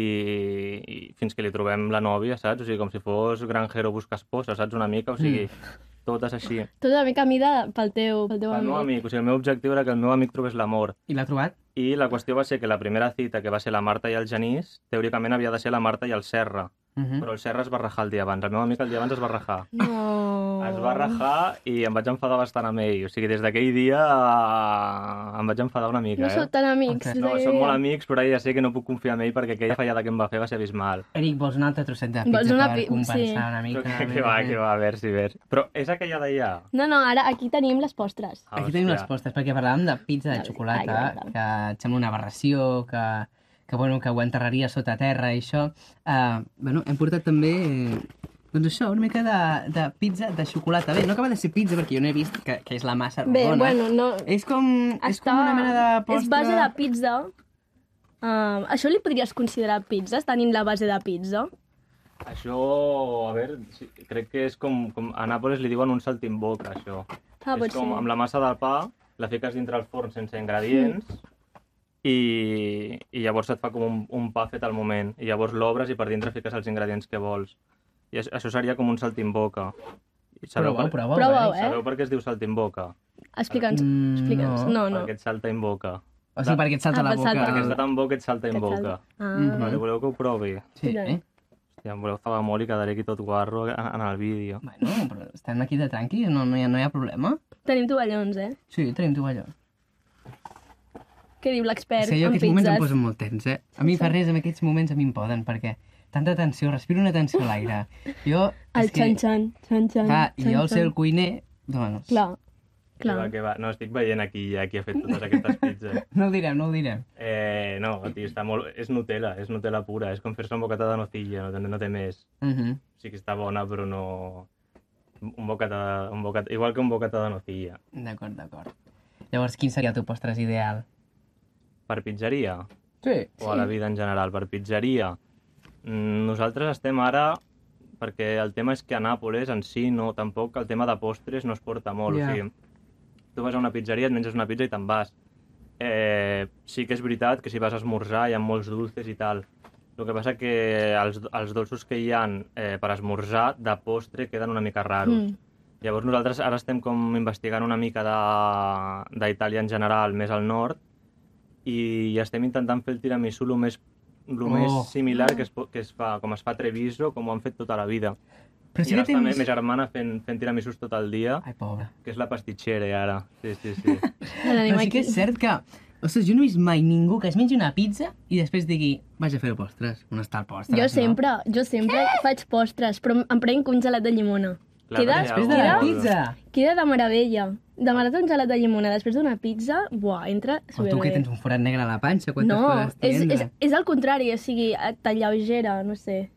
[SPEAKER 2] i fins que li trobem la nòvia, saps? O sigui, com si fos granjero busca esposa, saps? Una mica, o
[SPEAKER 1] Mm.
[SPEAKER 2] sigui, totes així.
[SPEAKER 1] Tot una mica a mida pel teu, pel teu
[SPEAKER 2] El
[SPEAKER 1] amic.
[SPEAKER 2] meu Ah, amic, o sigui, el meu objectiu era que el meu amic trobés l'amor.
[SPEAKER 3] I l'ha trobat?
[SPEAKER 2] I la qüestió va ser que la primera cita, que va ser la Marta i el Genís, teòricament havia de ser la Marta i el Serra.
[SPEAKER 3] Uh -huh.
[SPEAKER 2] Però el Serra es va rajar el dia abans. El meu amic el dia abans es va rajar.
[SPEAKER 1] No.
[SPEAKER 2] Es va rajar i em vaig enfadar bastant amb ell. O sigui, des d'aquell dia eh, em vaig enfadar una mica,
[SPEAKER 1] No sou
[SPEAKER 2] eh?
[SPEAKER 1] tan amics.
[SPEAKER 3] Ok.
[SPEAKER 1] des
[SPEAKER 2] No,
[SPEAKER 1] d'aquell
[SPEAKER 2] som
[SPEAKER 1] dia.
[SPEAKER 2] molt amics, però ara ja sé que no puc confiar en ell perquè aquella fallada que em va fer va ser abismal.
[SPEAKER 3] Eric, vols un altre trosset de pizza
[SPEAKER 1] Vols una
[SPEAKER 3] per
[SPEAKER 1] pi-
[SPEAKER 3] compensar
[SPEAKER 1] sí.
[SPEAKER 3] una mica?
[SPEAKER 2] Que, que va, que va, a veure si veus. Però és aquella d'allà.
[SPEAKER 1] No, no, ara aquí tenim les postres.
[SPEAKER 2] Ah,
[SPEAKER 3] Aquí tenim les
[SPEAKER 2] hòstia.
[SPEAKER 3] postres, perquè parlàvem de pizza de
[SPEAKER 1] Vale,
[SPEAKER 3] xocolata,
[SPEAKER 1] vale, vale.
[SPEAKER 3] que et sembla una aberració, que, que, bueno, que ho enterraria sota terra i això. Uh, bueno, hem portat també eh, doncs això, una mica de, de pizza de xocolata. Bé, no acaba de ser pizza, perquè jo no he vist que, que és la massa
[SPEAKER 1] Bé,
[SPEAKER 3] rodona.
[SPEAKER 1] bueno, no...
[SPEAKER 2] Eh,
[SPEAKER 3] És com, és com una mena de postre...
[SPEAKER 1] És base de pizza. Um, això li podries considerar pizza, tenint la base de pizza?
[SPEAKER 2] Això, a veure, sí, crec que és com, com... A Nàpoles li diuen un saltimboc, això.
[SPEAKER 1] Ah,
[SPEAKER 2] és
[SPEAKER 1] pot
[SPEAKER 2] com
[SPEAKER 1] ser.
[SPEAKER 2] amb la massa de pa, la fiques dintre el forn sense ingredients i, i llavors et fa com un, un pa fet al moment. I llavors l'obres i per dintre fiques els ingredients que vols. I això, això seria com un saltimboca. I Sabeu,
[SPEAKER 3] Proveu,
[SPEAKER 2] per,
[SPEAKER 3] proveu,
[SPEAKER 1] Proveu,
[SPEAKER 3] eh?
[SPEAKER 1] eh?
[SPEAKER 2] sabeu per què es diu saltimboca?
[SPEAKER 1] Explica'ns,
[SPEAKER 3] Mm,
[SPEAKER 1] explica'ns.
[SPEAKER 3] no.
[SPEAKER 1] No, no.
[SPEAKER 2] Perquè et salta en boca.
[SPEAKER 3] O sigui, perquè et salta
[SPEAKER 1] Ah,
[SPEAKER 3] la
[SPEAKER 1] per
[SPEAKER 3] boca.
[SPEAKER 1] saltar.
[SPEAKER 2] Perquè està tan bo que et salta en
[SPEAKER 1] Que et
[SPEAKER 2] boca.
[SPEAKER 1] Ah,
[SPEAKER 3] Mhm.
[SPEAKER 2] Vale, voleu que ho provi?
[SPEAKER 3] Sí, eh?
[SPEAKER 2] Ja em voleu fer la mori, quedaré aquí tot guarro en, en el vídeo.
[SPEAKER 3] Bueno, però estem aquí de tranquils, no, no, hi ha, no hi ha problema.
[SPEAKER 1] Tenim tovallons, eh?
[SPEAKER 3] Sí, tenim tovalló.
[SPEAKER 1] Què diu
[SPEAKER 3] És
[SPEAKER 1] l'expert
[SPEAKER 3] que jo
[SPEAKER 1] en
[SPEAKER 3] aquests moments em
[SPEAKER 1] pizzas?
[SPEAKER 3] poso molt tens, eh? A mi fa res, en aquests moments a mi em poden, perquè tanta tensió, respiro una tensió a l'aire. Jo,
[SPEAKER 1] El xan-xan, xan-xan,
[SPEAKER 3] clar, Ah, i jo
[SPEAKER 1] xan-xan.
[SPEAKER 3] al ser el cuiner, doncs...
[SPEAKER 1] Clar,
[SPEAKER 2] Que va,
[SPEAKER 1] clar.
[SPEAKER 2] que va. No, estic veient aquí ja qui ha fet totes aquestes pizzas.
[SPEAKER 3] No ho direm, no ho direm.
[SPEAKER 2] Eh, no, tio, està molt... És Nutella, és Nutella pura. És com fer-se un bocata de nocilla, no, té- no té més.
[SPEAKER 3] Uh
[SPEAKER 2] O sigui que està bona, però no... Un bocata, un bocata... Igual que un bocata de nocilla.
[SPEAKER 3] D'acord, d'acord. Llavors, quin seria el teu postres ideal?
[SPEAKER 2] Per pizzeria?
[SPEAKER 3] Sí.
[SPEAKER 2] O a la vida en general? Per pizzeria? Mm, Nosaltres estem ara... Perquè el tema és que a Nàpoles en si no, tampoc el tema de postres no es porta molt.
[SPEAKER 3] Ja.
[SPEAKER 2] O sigui, tu vas a una pizzeria, et menges una pizza i te'n vas. Eh, sí que és veritat que si vas a esmorzar hi ha molts dulces i tal. El que passa que els, els dolços que hi ha eh, per esmorzar de postre queden una mica raros.
[SPEAKER 1] Mm.
[SPEAKER 2] Llavors nosaltres ara estem com investigant una mica de- d'Itàlia en general, més al nord, i estem intentant fer el tiramisú el més, lo
[SPEAKER 3] Oh.
[SPEAKER 2] més similar que es, po- que es fa, com es fa a Treviso, com ho han fet tota la vida.
[SPEAKER 3] Però
[SPEAKER 2] I
[SPEAKER 3] si no
[SPEAKER 2] ara està
[SPEAKER 3] tens...
[SPEAKER 2] la meva germana fent, fent tiramisús tot el dia,
[SPEAKER 3] Ai, pobre.
[SPEAKER 2] que és la pastitxera eh, ara. Sí, sí, sí.
[SPEAKER 1] Ja tenim
[SPEAKER 3] Però sí
[SPEAKER 1] aquí.
[SPEAKER 3] que és cert que... Ostres, jo no he vist mai ningú que es mengi una pizza i després digui, vaig a fer postres, on està el postre?
[SPEAKER 1] Jo sempre, jo sempre faig postres, però em prenc un gelat de llimona.
[SPEAKER 2] Clar,
[SPEAKER 1] Queda-
[SPEAKER 2] perquè hi ha
[SPEAKER 3] Després de la
[SPEAKER 2] algú-
[SPEAKER 3] pizza!
[SPEAKER 1] Queda de meravella. Demanar-te un gelat de llimona després d'una pizza, buah, entra
[SPEAKER 3] O tu que
[SPEAKER 1] superbé.
[SPEAKER 3] tens un forat negre a la panxa, quantes
[SPEAKER 1] No,
[SPEAKER 3] coses
[SPEAKER 1] és,
[SPEAKER 3] tindre?
[SPEAKER 1] és, és el contrari, o sigui, eh, t'alleugera, no sé.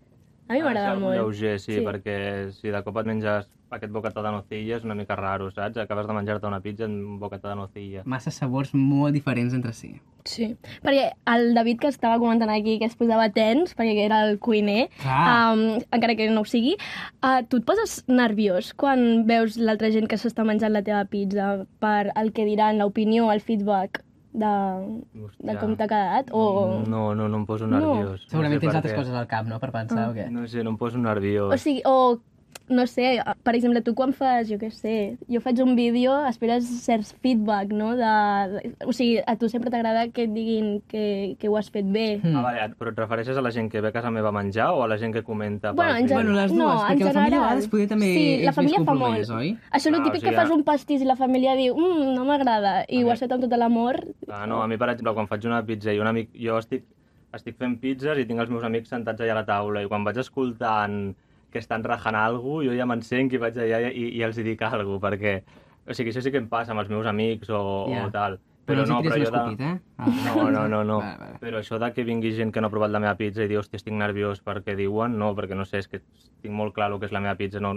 [SPEAKER 1] A mi
[SPEAKER 2] Ha de ser
[SPEAKER 1] m'agrada
[SPEAKER 2] algun
[SPEAKER 1] molt.
[SPEAKER 2] Lleuger, sí,
[SPEAKER 1] Sí.
[SPEAKER 2] sí, perquè si de cop et menges aquest bocata de nocilla és una mica raro, saps? Acabes de menjar-te una pizza amb un bocata de nocilla.
[SPEAKER 3] massa sabors molt diferents entre si.
[SPEAKER 1] Sí, perquè el David que estava comentant aquí que es posava tens, perquè era el cuiner,
[SPEAKER 3] Clar.
[SPEAKER 1] um, encara que no ho sigui, uh, tu et poses nerviós quan veus l'altra gent que s'està menjant la teva pizza per el que diran, l'opinió, el feedback de,
[SPEAKER 2] Hòstia.
[SPEAKER 1] de com t'ha quedat? O,
[SPEAKER 2] No, no, no em poso
[SPEAKER 1] No.
[SPEAKER 2] nerviós. No. sé
[SPEAKER 3] Segurament tens
[SPEAKER 2] per
[SPEAKER 3] altres
[SPEAKER 2] què.
[SPEAKER 3] coses al cap, no?, per pensar o què?
[SPEAKER 2] Mm. No sé, no em poso nerviós.
[SPEAKER 1] o sigui, o no sé, per exemple, tu quan fas, jo què sé, jo faig un vídeo, esperes certs feedback, no? De, de, o sigui, a tu sempre t'agrada que et diguin que, que ho has fet bé.
[SPEAKER 3] Mm.
[SPEAKER 2] Ah, vale, però et refereixes a la gent que ve a casa meva a menjar o a la gent que comenta?
[SPEAKER 1] Bueno,
[SPEAKER 2] pel
[SPEAKER 1] en
[SPEAKER 2] Facebook?
[SPEAKER 1] general-
[SPEAKER 3] Bueno, les dues,
[SPEAKER 1] no, en
[SPEAKER 3] perquè la família a
[SPEAKER 1] general.
[SPEAKER 3] vegades poder també
[SPEAKER 1] Sí,
[SPEAKER 3] és
[SPEAKER 1] la família
[SPEAKER 3] més
[SPEAKER 1] fa molt.
[SPEAKER 3] compromès, oi?
[SPEAKER 1] Això és
[SPEAKER 2] Ah,
[SPEAKER 1] el
[SPEAKER 2] o
[SPEAKER 1] típic
[SPEAKER 2] sigui,
[SPEAKER 1] que fas
[SPEAKER 2] a-
[SPEAKER 1] un pastís i la família diu mm, no m'agrada, i
[SPEAKER 2] A
[SPEAKER 1] ho
[SPEAKER 2] mi-
[SPEAKER 1] has fet amb tot l'amor.
[SPEAKER 2] Ah, no, a mi, per exemple, quan faig una pizza i un amic... Jo estic, estic fent pizzas i tinc els meus amics sentats allà a la taula i quan vaig escoltant que estan rajant alguna cosa, jo ja m'encenc i vaig allà i, i els hi dic alguna cosa, perquè... O sigui, això sí que em passa amb els meus amics o,
[SPEAKER 3] Ja.
[SPEAKER 2] o tal.
[SPEAKER 3] Però, no, però jo...
[SPEAKER 2] jo de-
[SPEAKER 3] Escopit, eh? Ah.
[SPEAKER 2] No, no, no, no.
[SPEAKER 3] Vale, vale.
[SPEAKER 2] Però això de que vingui gent que no ha provat la meva pizza i diu, hòstia, estic nerviós perquè diuen, no, perquè no sé, és que tinc molt clar el que és la meva pizza, no,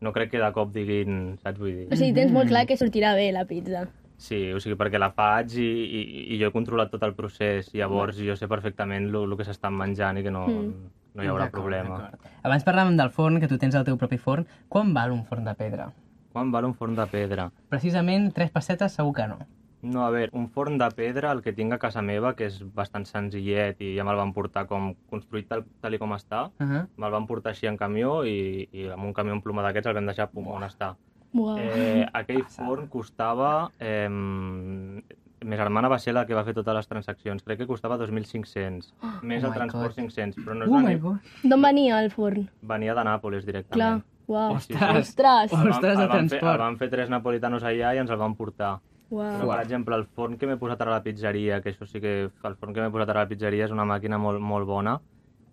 [SPEAKER 2] no crec que de cop diguin, saps? Vull
[SPEAKER 1] O
[SPEAKER 2] dir,
[SPEAKER 1] sigui, tens molt clar que sortirà bé la pizza.
[SPEAKER 2] sí, o sigui, perquè la faig i, i, i jo he controlat tot el procés, llavors jo sé perfectament el que s'estan menjant i que no,
[SPEAKER 1] Mm.
[SPEAKER 2] no hi haurà
[SPEAKER 3] D'acord,
[SPEAKER 2] problema.
[SPEAKER 3] d'acord. Abans parlàvem del forn, que tu tens el teu propi forn. Quan val un forn de pedra?
[SPEAKER 2] Quan val un forn de pedra?
[SPEAKER 3] Precisament, tres pessetes segur que no.
[SPEAKER 2] No, a veure, un forn de pedra, el que tinc a casa meva, que és bastant senzillet i ja me'l van portar com construït tal, tal i com està,
[SPEAKER 3] Uh -huh.
[SPEAKER 2] me'l van portar així en camió i, i amb un camió en ploma d'aquests el vam deixar pum, on està.
[SPEAKER 3] Oh.
[SPEAKER 1] Uau.
[SPEAKER 2] Eh, aquell forn costava... Eh, ma germana va ser la que va fer totes les transaccions. Crec que costava 2.500, més
[SPEAKER 3] Oh
[SPEAKER 2] el
[SPEAKER 3] my
[SPEAKER 2] transport
[SPEAKER 3] God.
[SPEAKER 2] 500, però no és
[SPEAKER 3] Oh
[SPEAKER 2] venia,
[SPEAKER 3] my god.
[SPEAKER 1] D'on venia el forn?
[SPEAKER 2] venia de Nàpolis
[SPEAKER 1] Clar,
[SPEAKER 2] directament.
[SPEAKER 1] uau.
[SPEAKER 2] Sí, sí.
[SPEAKER 1] Ostres,
[SPEAKER 2] El
[SPEAKER 3] Ostres.
[SPEAKER 2] van-
[SPEAKER 3] Ostres, el
[SPEAKER 2] el van fer,
[SPEAKER 3] transport.
[SPEAKER 2] el van fer tres napolitanos allà i ens el van portar. Però,
[SPEAKER 1] uau.
[SPEAKER 2] per exemple, el forn que m'he posat ara a la pizzeria, que això sí que... El forn que m'he posat ara a la pizzeria és una màquina molt, molt bona,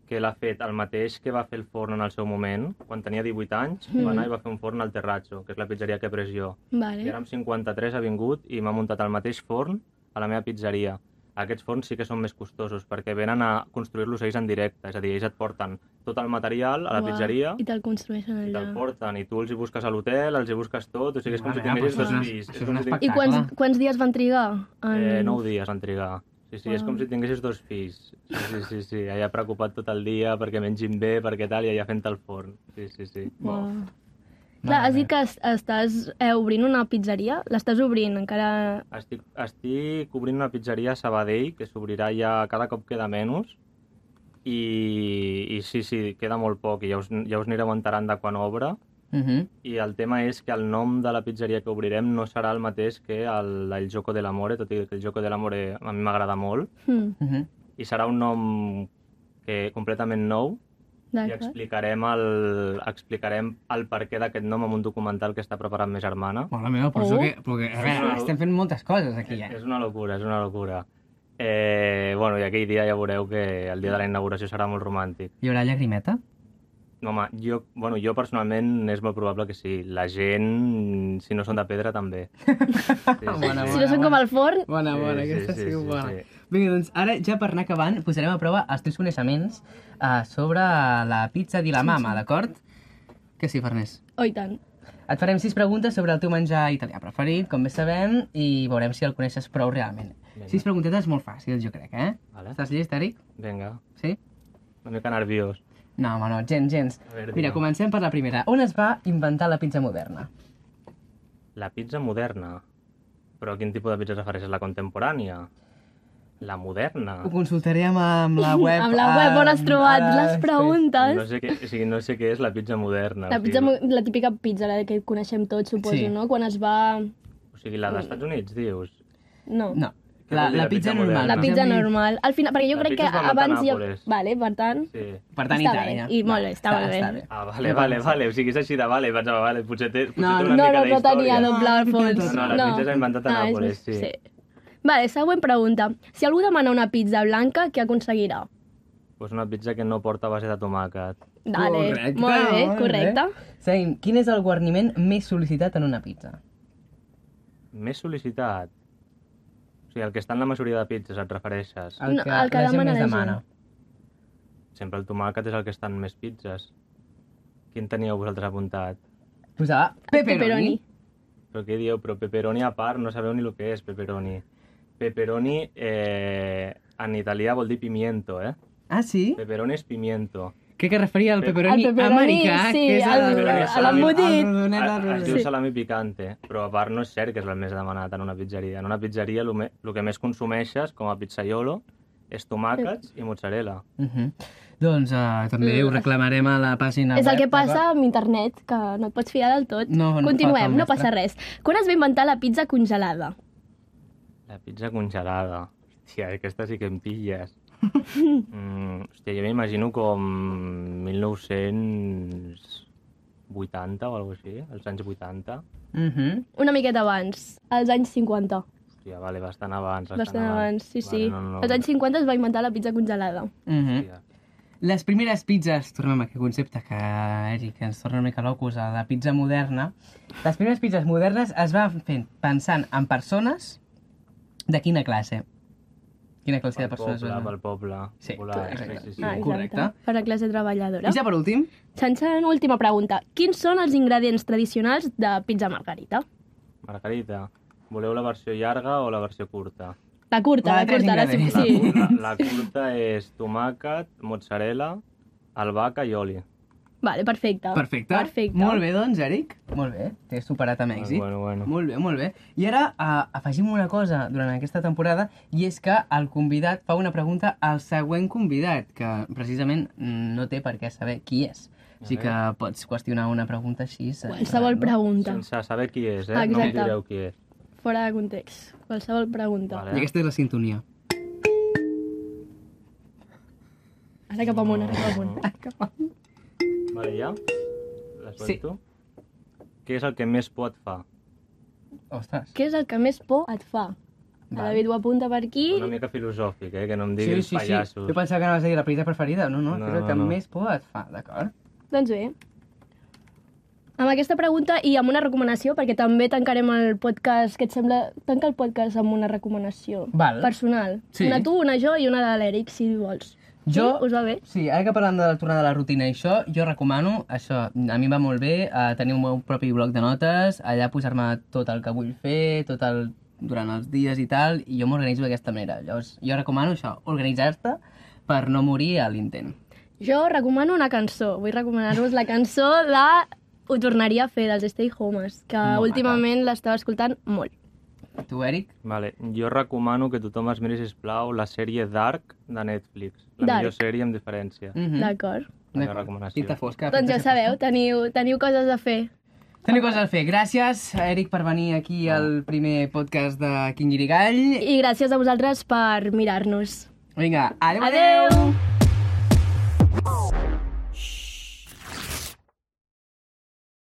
[SPEAKER 2] que l'ha fet el mateix que va fer el forn en el seu moment, quan tenia 18 anys,
[SPEAKER 1] Mhm.
[SPEAKER 2] va anar i va fer un forn al Terrazzo, que és la pizzeria que he pres jo. I
[SPEAKER 1] Vale.
[SPEAKER 2] ara amb 53 ha vingut i m'ha muntat el mateix forn a la meva pizzeria. Aquests forns sí que són més costosos perquè venen a construir-los ells en directe, és a dir, ells et porten tot el material a la
[SPEAKER 1] Uau.
[SPEAKER 2] pizzeria
[SPEAKER 1] I te'l construeixen
[SPEAKER 2] i te'l
[SPEAKER 1] allà.
[SPEAKER 2] porten i tu els hi busques a l'hotel, els hi busques tot, o sigui, és com
[SPEAKER 3] Mare
[SPEAKER 2] si
[SPEAKER 3] meva,
[SPEAKER 2] tinguessis
[SPEAKER 1] però això
[SPEAKER 2] dos
[SPEAKER 1] és
[SPEAKER 3] un-
[SPEAKER 2] fills.
[SPEAKER 3] això
[SPEAKER 2] És
[SPEAKER 3] és
[SPEAKER 2] com si
[SPEAKER 3] un
[SPEAKER 1] I
[SPEAKER 2] tinguessis-
[SPEAKER 1] quants,
[SPEAKER 3] Espectacle.
[SPEAKER 1] quants dies van trigar?
[SPEAKER 2] Ah, Eh, 9 dies van trigar. Sí, sí, és
[SPEAKER 1] Uau.
[SPEAKER 2] com si tinguessis dos fills. Sí, sí, sí, sí, allà preocupat tot el dia perquè mengin bé, perquè tal, i allà fent el forn. Sí, sí, sí.
[SPEAKER 1] Uau. Clar,
[SPEAKER 3] Mare
[SPEAKER 1] has dit
[SPEAKER 3] meva.
[SPEAKER 1] que es- estàs eh, obrint una pizzeria? L'estàs obrint encara...
[SPEAKER 2] Estic, estic obrint una pizzeria a Sabadell, que s'obrirà ja cada cop queda menys, i, i sí, sí, queda molt poc, i ja us, ja us anireu enterant de quan obre,
[SPEAKER 3] Mhm.
[SPEAKER 2] i el tema és que el nom de la pizzeria que obrirem no serà el mateix que el, el Joco de l'Amore, tot i que el Joco de l'Amore a mi m'agrada molt,
[SPEAKER 1] Hm,
[SPEAKER 3] Mhm.
[SPEAKER 2] i serà un nom que completament nou, i
[SPEAKER 1] D'acord.
[SPEAKER 2] explicarem el, explicarem el perquè d'aquest nom amb un documental que està preparant ma germana.
[SPEAKER 3] Mare meva, però, això
[SPEAKER 1] Oh.
[SPEAKER 3] que, però que, a veure,
[SPEAKER 2] Sí, sí.
[SPEAKER 3] estem fent moltes coses aquí, eh?
[SPEAKER 2] És una locura, és una locura. Eh, bueno, i aquell dia ja veureu que el dia de la inauguració serà molt romàntic.
[SPEAKER 3] Hi haurà llagrimeta?
[SPEAKER 2] No, home, jo, bueno, jo personalment és molt probable que sí. La gent, si no són de pedra, també. Sí,
[SPEAKER 3] Bona,
[SPEAKER 1] Si no són com el forn,
[SPEAKER 3] Bona, bona, sí, aquesta sí, sí, bona. Sí, Vinga, doncs ara ja per anar acabant posarem a prova els teus coneixements uh, sobre la pizza di la mama, d'acord? Que sí, Farners.
[SPEAKER 1] oh, i tant.
[SPEAKER 3] Et farem sis preguntes sobre el teu menjar italià preferit, com bé sabem, i veurem si el coneixes prou realment.
[SPEAKER 2] Vinga.
[SPEAKER 3] Sis preguntetes molt fàcils, jo crec, eh?
[SPEAKER 2] Vale.
[SPEAKER 3] Estàs llest, Eric?
[SPEAKER 2] Vinga,
[SPEAKER 3] Sí?
[SPEAKER 2] una mica nerviós.
[SPEAKER 3] No, home, no, gens, gens.
[SPEAKER 2] A veure,
[SPEAKER 3] Mira,
[SPEAKER 2] digue'm.
[SPEAKER 3] comencem per la primera. On es va inventar la pizza moderna?
[SPEAKER 2] La pizza moderna. Però quin tipus de pizza es refereix? La contemporània? La moderna?
[SPEAKER 3] Ho consultaré amb, amb la web.
[SPEAKER 1] Ah. Amb la web on has
[SPEAKER 3] amb-
[SPEAKER 1] trobat
[SPEAKER 3] a-
[SPEAKER 1] les preguntes.
[SPEAKER 2] No sé què, o sigui, no sé què és la pizza moderna.
[SPEAKER 1] La
[SPEAKER 2] o
[SPEAKER 1] pizza,
[SPEAKER 2] sigui,
[SPEAKER 1] mo- la típica pizza, la que coneixem tots, suposo,
[SPEAKER 3] Sí.
[SPEAKER 1] no? Quan es va...
[SPEAKER 2] O sigui, la dels Estats Units, dius?
[SPEAKER 1] No.
[SPEAKER 3] No,
[SPEAKER 2] Què
[SPEAKER 3] la,
[SPEAKER 2] vol dir
[SPEAKER 3] la
[SPEAKER 2] la
[SPEAKER 3] pizza
[SPEAKER 2] pizza
[SPEAKER 3] normal.
[SPEAKER 2] moderna?
[SPEAKER 1] La pizza normal. Al final, perquè jo
[SPEAKER 2] La
[SPEAKER 1] crec que
[SPEAKER 2] pizza es va inventar
[SPEAKER 1] abans...
[SPEAKER 2] a Nàpoles.
[SPEAKER 1] Vale, per tant...
[SPEAKER 2] Sí.
[SPEAKER 3] Per tant,
[SPEAKER 1] Està
[SPEAKER 3] Itàlia.
[SPEAKER 1] bé, i molt bé, està molt bé.
[SPEAKER 2] Ah, vale, vale, vale. O sigui, és així de vale. Pensava, vale, potser té, potser té una
[SPEAKER 1] No,
[SPEAKER 2] mica
[SPEAKER 1] no, no
[SPEAKER 2] d'història.
[SPEAKER 1] tenia doble al
[SPEAKER 3] No,
[SPEAKER 1] fons.
[SPEAKER 2] No, la pizza s'ha inventat a
[SPEAKER 1] Ah, és
[SPEAKER 2] Nàpoles,
[SPEAKER 1] més-
[SPEAKER 2] sí.
[SPEAKER 1] Vale, següent pregunta. Si algú demana una pizza blanca, què aconseguirà?
[SPEAKER 2] Pues una pizza que no porta base de tomàquet.
[SPEAKER 1] Dale, molt bé, correcte.
[SPEAKER 3] Seguim. Quin és el guarniment més sol·licitat en una pizza?
[SPEAKER 2] Més sol·licitat. O sigui, el que està en la majoria de pizzas, et refereixes.
[SPEAKER 1] No, el que
[SPEAKER 3] la gent
[SPEAKER 1] demana la
[SPEAKER 3] més
[SPEAKER 1] gent.
[SPEAKER 3] demana.
[SPEAKER 2] Sempre el tomàquet és el que està en més pizzas. Quin teníeu vosaltres apuntat?
[SPEAKER 3] Posava pepperoni.
[SPEAKER 1] Pepperoni.
[SPEAKER 2] Però què dieu? Però pepperoni a part, no sabeu ni el que és pepperoni. Pepperoni eh, en italià vol dir pimiento, eh?
[SPEAKER 3] Ah, sí?
[SPEAKER 2] Pepperoni és pimiento.
[SPEAKER 3] Crec que es referia al
[SPEAKER 2] Pe-
[SPEAKER 3] pepperoni,
[SPEAKER 1] Al pepperoni,
[SPEAKER 3] americà,
[SPEAKER 1] sí,
[SPEAKER 3] que és
[SPEAKER 1] al-
[SPEAKER 3] el...
[SPEAKER 2] a l'embotit.
[SPEAKER 3] el rodonet, el
[SPEAKER 2] Es, es
[SPEAKER 3] rodonet.
[SPEAKER 2] diu salami picante, però a part no és cert que és el més demanat en una pizzeria. En una pizzeria el, me, el que més consumeixes com a pizzaiolo és tomàquets i mozzarella.
[SPEAKER 3] Uh -huh. Doncs uh, també ho reclamarem a la pàgina
[SPEAKER 1] És el que
[SPEAKER 3] web, d'acord?
[SPEAKER 1] passa amb internet, que no et pots fiar del tot.
[SPEAKER 3] No, no falta
[SPEAKER 1] Continuem, no
[SPEAKER 3] el mestre.
[SPEAKER 1] passa res. Quan es va inventar la pizza congelada?
[SPEAKER 2] La pizza congelada. Hòstia, aquesta sí que em pilles. mm, hòstia, jo m'imagino com 1980 o alguna així, els anys 80.
[SPEAKER 3] Uh -huh.
[SPEAKER 1] Una miqueta abans, als anys 50.
[SPEAKER 2] Hòstia, vale, bastant abans.
[SPEAKER 1] Bastant abans, sí, sí.
[SPEAKER 2] Vale, no, no.
[SPEAKER 1] Als anys 50 es va inventar la pizza congelada.
[SPEAKER 3] Uh -huh.
[SPEAKER 2] Hòstia.
[SPEAKER 3] Les primeres pizzas, tornem a aquest concepte que, Eric, ens torna una mica locos a la pizza moderna. Les primeres pizzas modernes es van fent pensant en persones de quina classe. Quina classe de
[SPEAKER 2] Pel
[SPEAKER 3] persones
[SPEAKER 2] poble,
[SPEAKER 3] van?
[SPEAKER 2] pel poble.
[SPEAKER 3] Sí,
[SPEAKER 2] popular,
[SPEAKER 3] exacte.
[SPEAKER 2] Sí, sí, sí.
[SPEAKER 1] Ah, exacte.
[SPEAKER 3] Correcte.
[SPEAKER 1] Per la classe treballadora.
[SPEAKER 3] I ja per últim,
[SPEAKER 1] Xan, xan, última pregunta. Quins són els ingredients tradicionals de pizza margarita?
[SPEAKER 2] Margarita, voleu la versió llarga o la versió curta?
[SPEAKER 1] La curta,
[SPEAKER 3] La
[SPEAKER 1] la,
[SPEAKER 3] de tres
[SPEAKER 1] curta, la sí.
[SPEAKER 2] La,
[SPEAKER 3] ingredients.
[SPEAKER 1] sí.
[SPEAKER 2] la, la curta és tomàquet, mozzarella, albahaca i oli.
[SPEAKER 1] Vale, perfecte.
[SPEAKER 3] perfecte.
[SPEAKER 1] Perfecte.
[SPEAKER 3] Molt bé, doncs, Eric. Molt bé, t'he superat amb èxit.
[SPEAKER 2] Bueno, bueno.
[SPEAKER 3] Molt bé, molt bé. I ara uh, afegim una cosa durant aquesta temporada i és que el convidat fa una pregunta al següent convidat, que precisament mm, no té per què saber qui és. Així que pots qüestionar una pregunta així. eh,
[SPEAKER 1] Qualsevol pregunta.
[SPEAKER 2] Sense saber qui és, eh? No em
[SPEAKER 1] Ah, Exacte.
[SPEAKER 2] direu qui és.
[SPEAKER 1] Fora de context. Qualsevol pregunta.
[SPEAKER 2] Vale.
[SPEAKER 3] I aquesta és la sintonia.
[SPEAKER 1] Ara cap amunt, ara cap amunt.
[SPEAKER 2] Vale, ja? La
[SPEAKER 3] Sí.
[SPEAKER 2] suelto? Què és el que més por et fa?
[SPEAKER 3] Ostres.
[SPEAKER 1] Què és el que més por et fa? El
[SPEAKER 3] Val.
[SPEAKER 1] David ho apunta per aquí.
[SPEAKER 2] Una mica filosòfic, eh? Que no em diguis
[SPEAKER 3] sí, sí.
[SPEAKER 2] pallassos.
[SPEAKER 3] Jo pensava que anaves a dir la petita preferida. No, no,
[SPEAKER 2] No,
[SPEAKER 3] no és el que
[SPEAKER 2] no, no.
[SPEAKER 3] més por et fa, d'acord?
[SPEAKER 1] Doncs bé. Amb aquesta pregunta i amb una recomanació, perquè també tancarem el podcast, que et sembla... Tanca el podcast amb una recomanació
[SPEAKER 3] Val.
[SPEAKER 1] personal.
[SPEAKER 3] Sí.
[SPEAKER 1] Una tu, una jo i una de l'Eric, si vols.
[SPEAKER 3] Jo-
[SPEAKER 1] Sí? Us va bé?
[SPEAKER 3] Sí, ara que parlant de la tornada a la rutina i això, jo recomano això. A mi em va molt bé eh, tenir un meu propi bloc de notes, allà posar-me tot el que vull fer, tot el durant els dies i tal, i jo m'organitzo d'aquesta manera. Llavors, jo recomano això, organitzar-te per no morir a l'intent.
[SPEAKER 1] Jo recomano una cançó. Vull recomanar-vos la cançó de Ho tornaria a fer, dels Stay Homes, que
[SPEAKER 3] Molt
[SPEAKER 1] últimament l'estava escoltant molt.
[SPEAKER 3] Tu, Eric?
[SPEAKER 2] Vale, jo recomano que tothom es miri, sisplau, la sèrie Dark de Netflix. La
[SPEAKER 1] Dark.
[SPEAKER 2] millor sèrie, amb diferència.
[SPEAKER 3] Mm
[SPEAKER 1] D'acord?
[SPEAKER 2] Una recomanació.
[SPEAKER 3] Pinta fosca.
[SPEAKER 1] Doncs ja sabeu, teniu, teniu coses a fer.
[SPEAKER 3] Teniu coses a fer. Gràcies, Eric, per venir aquí al primer podcast de Quingirigall.
[SPEAKER 1] I gràcies a vosaltres per mirar-nos.
[SPEAKER 3] Vinga, adeu, adeu!
[SPEAKER 1] Adeu!
[SPEAKER 3] adeu.
[SPEAKER 1] adeu.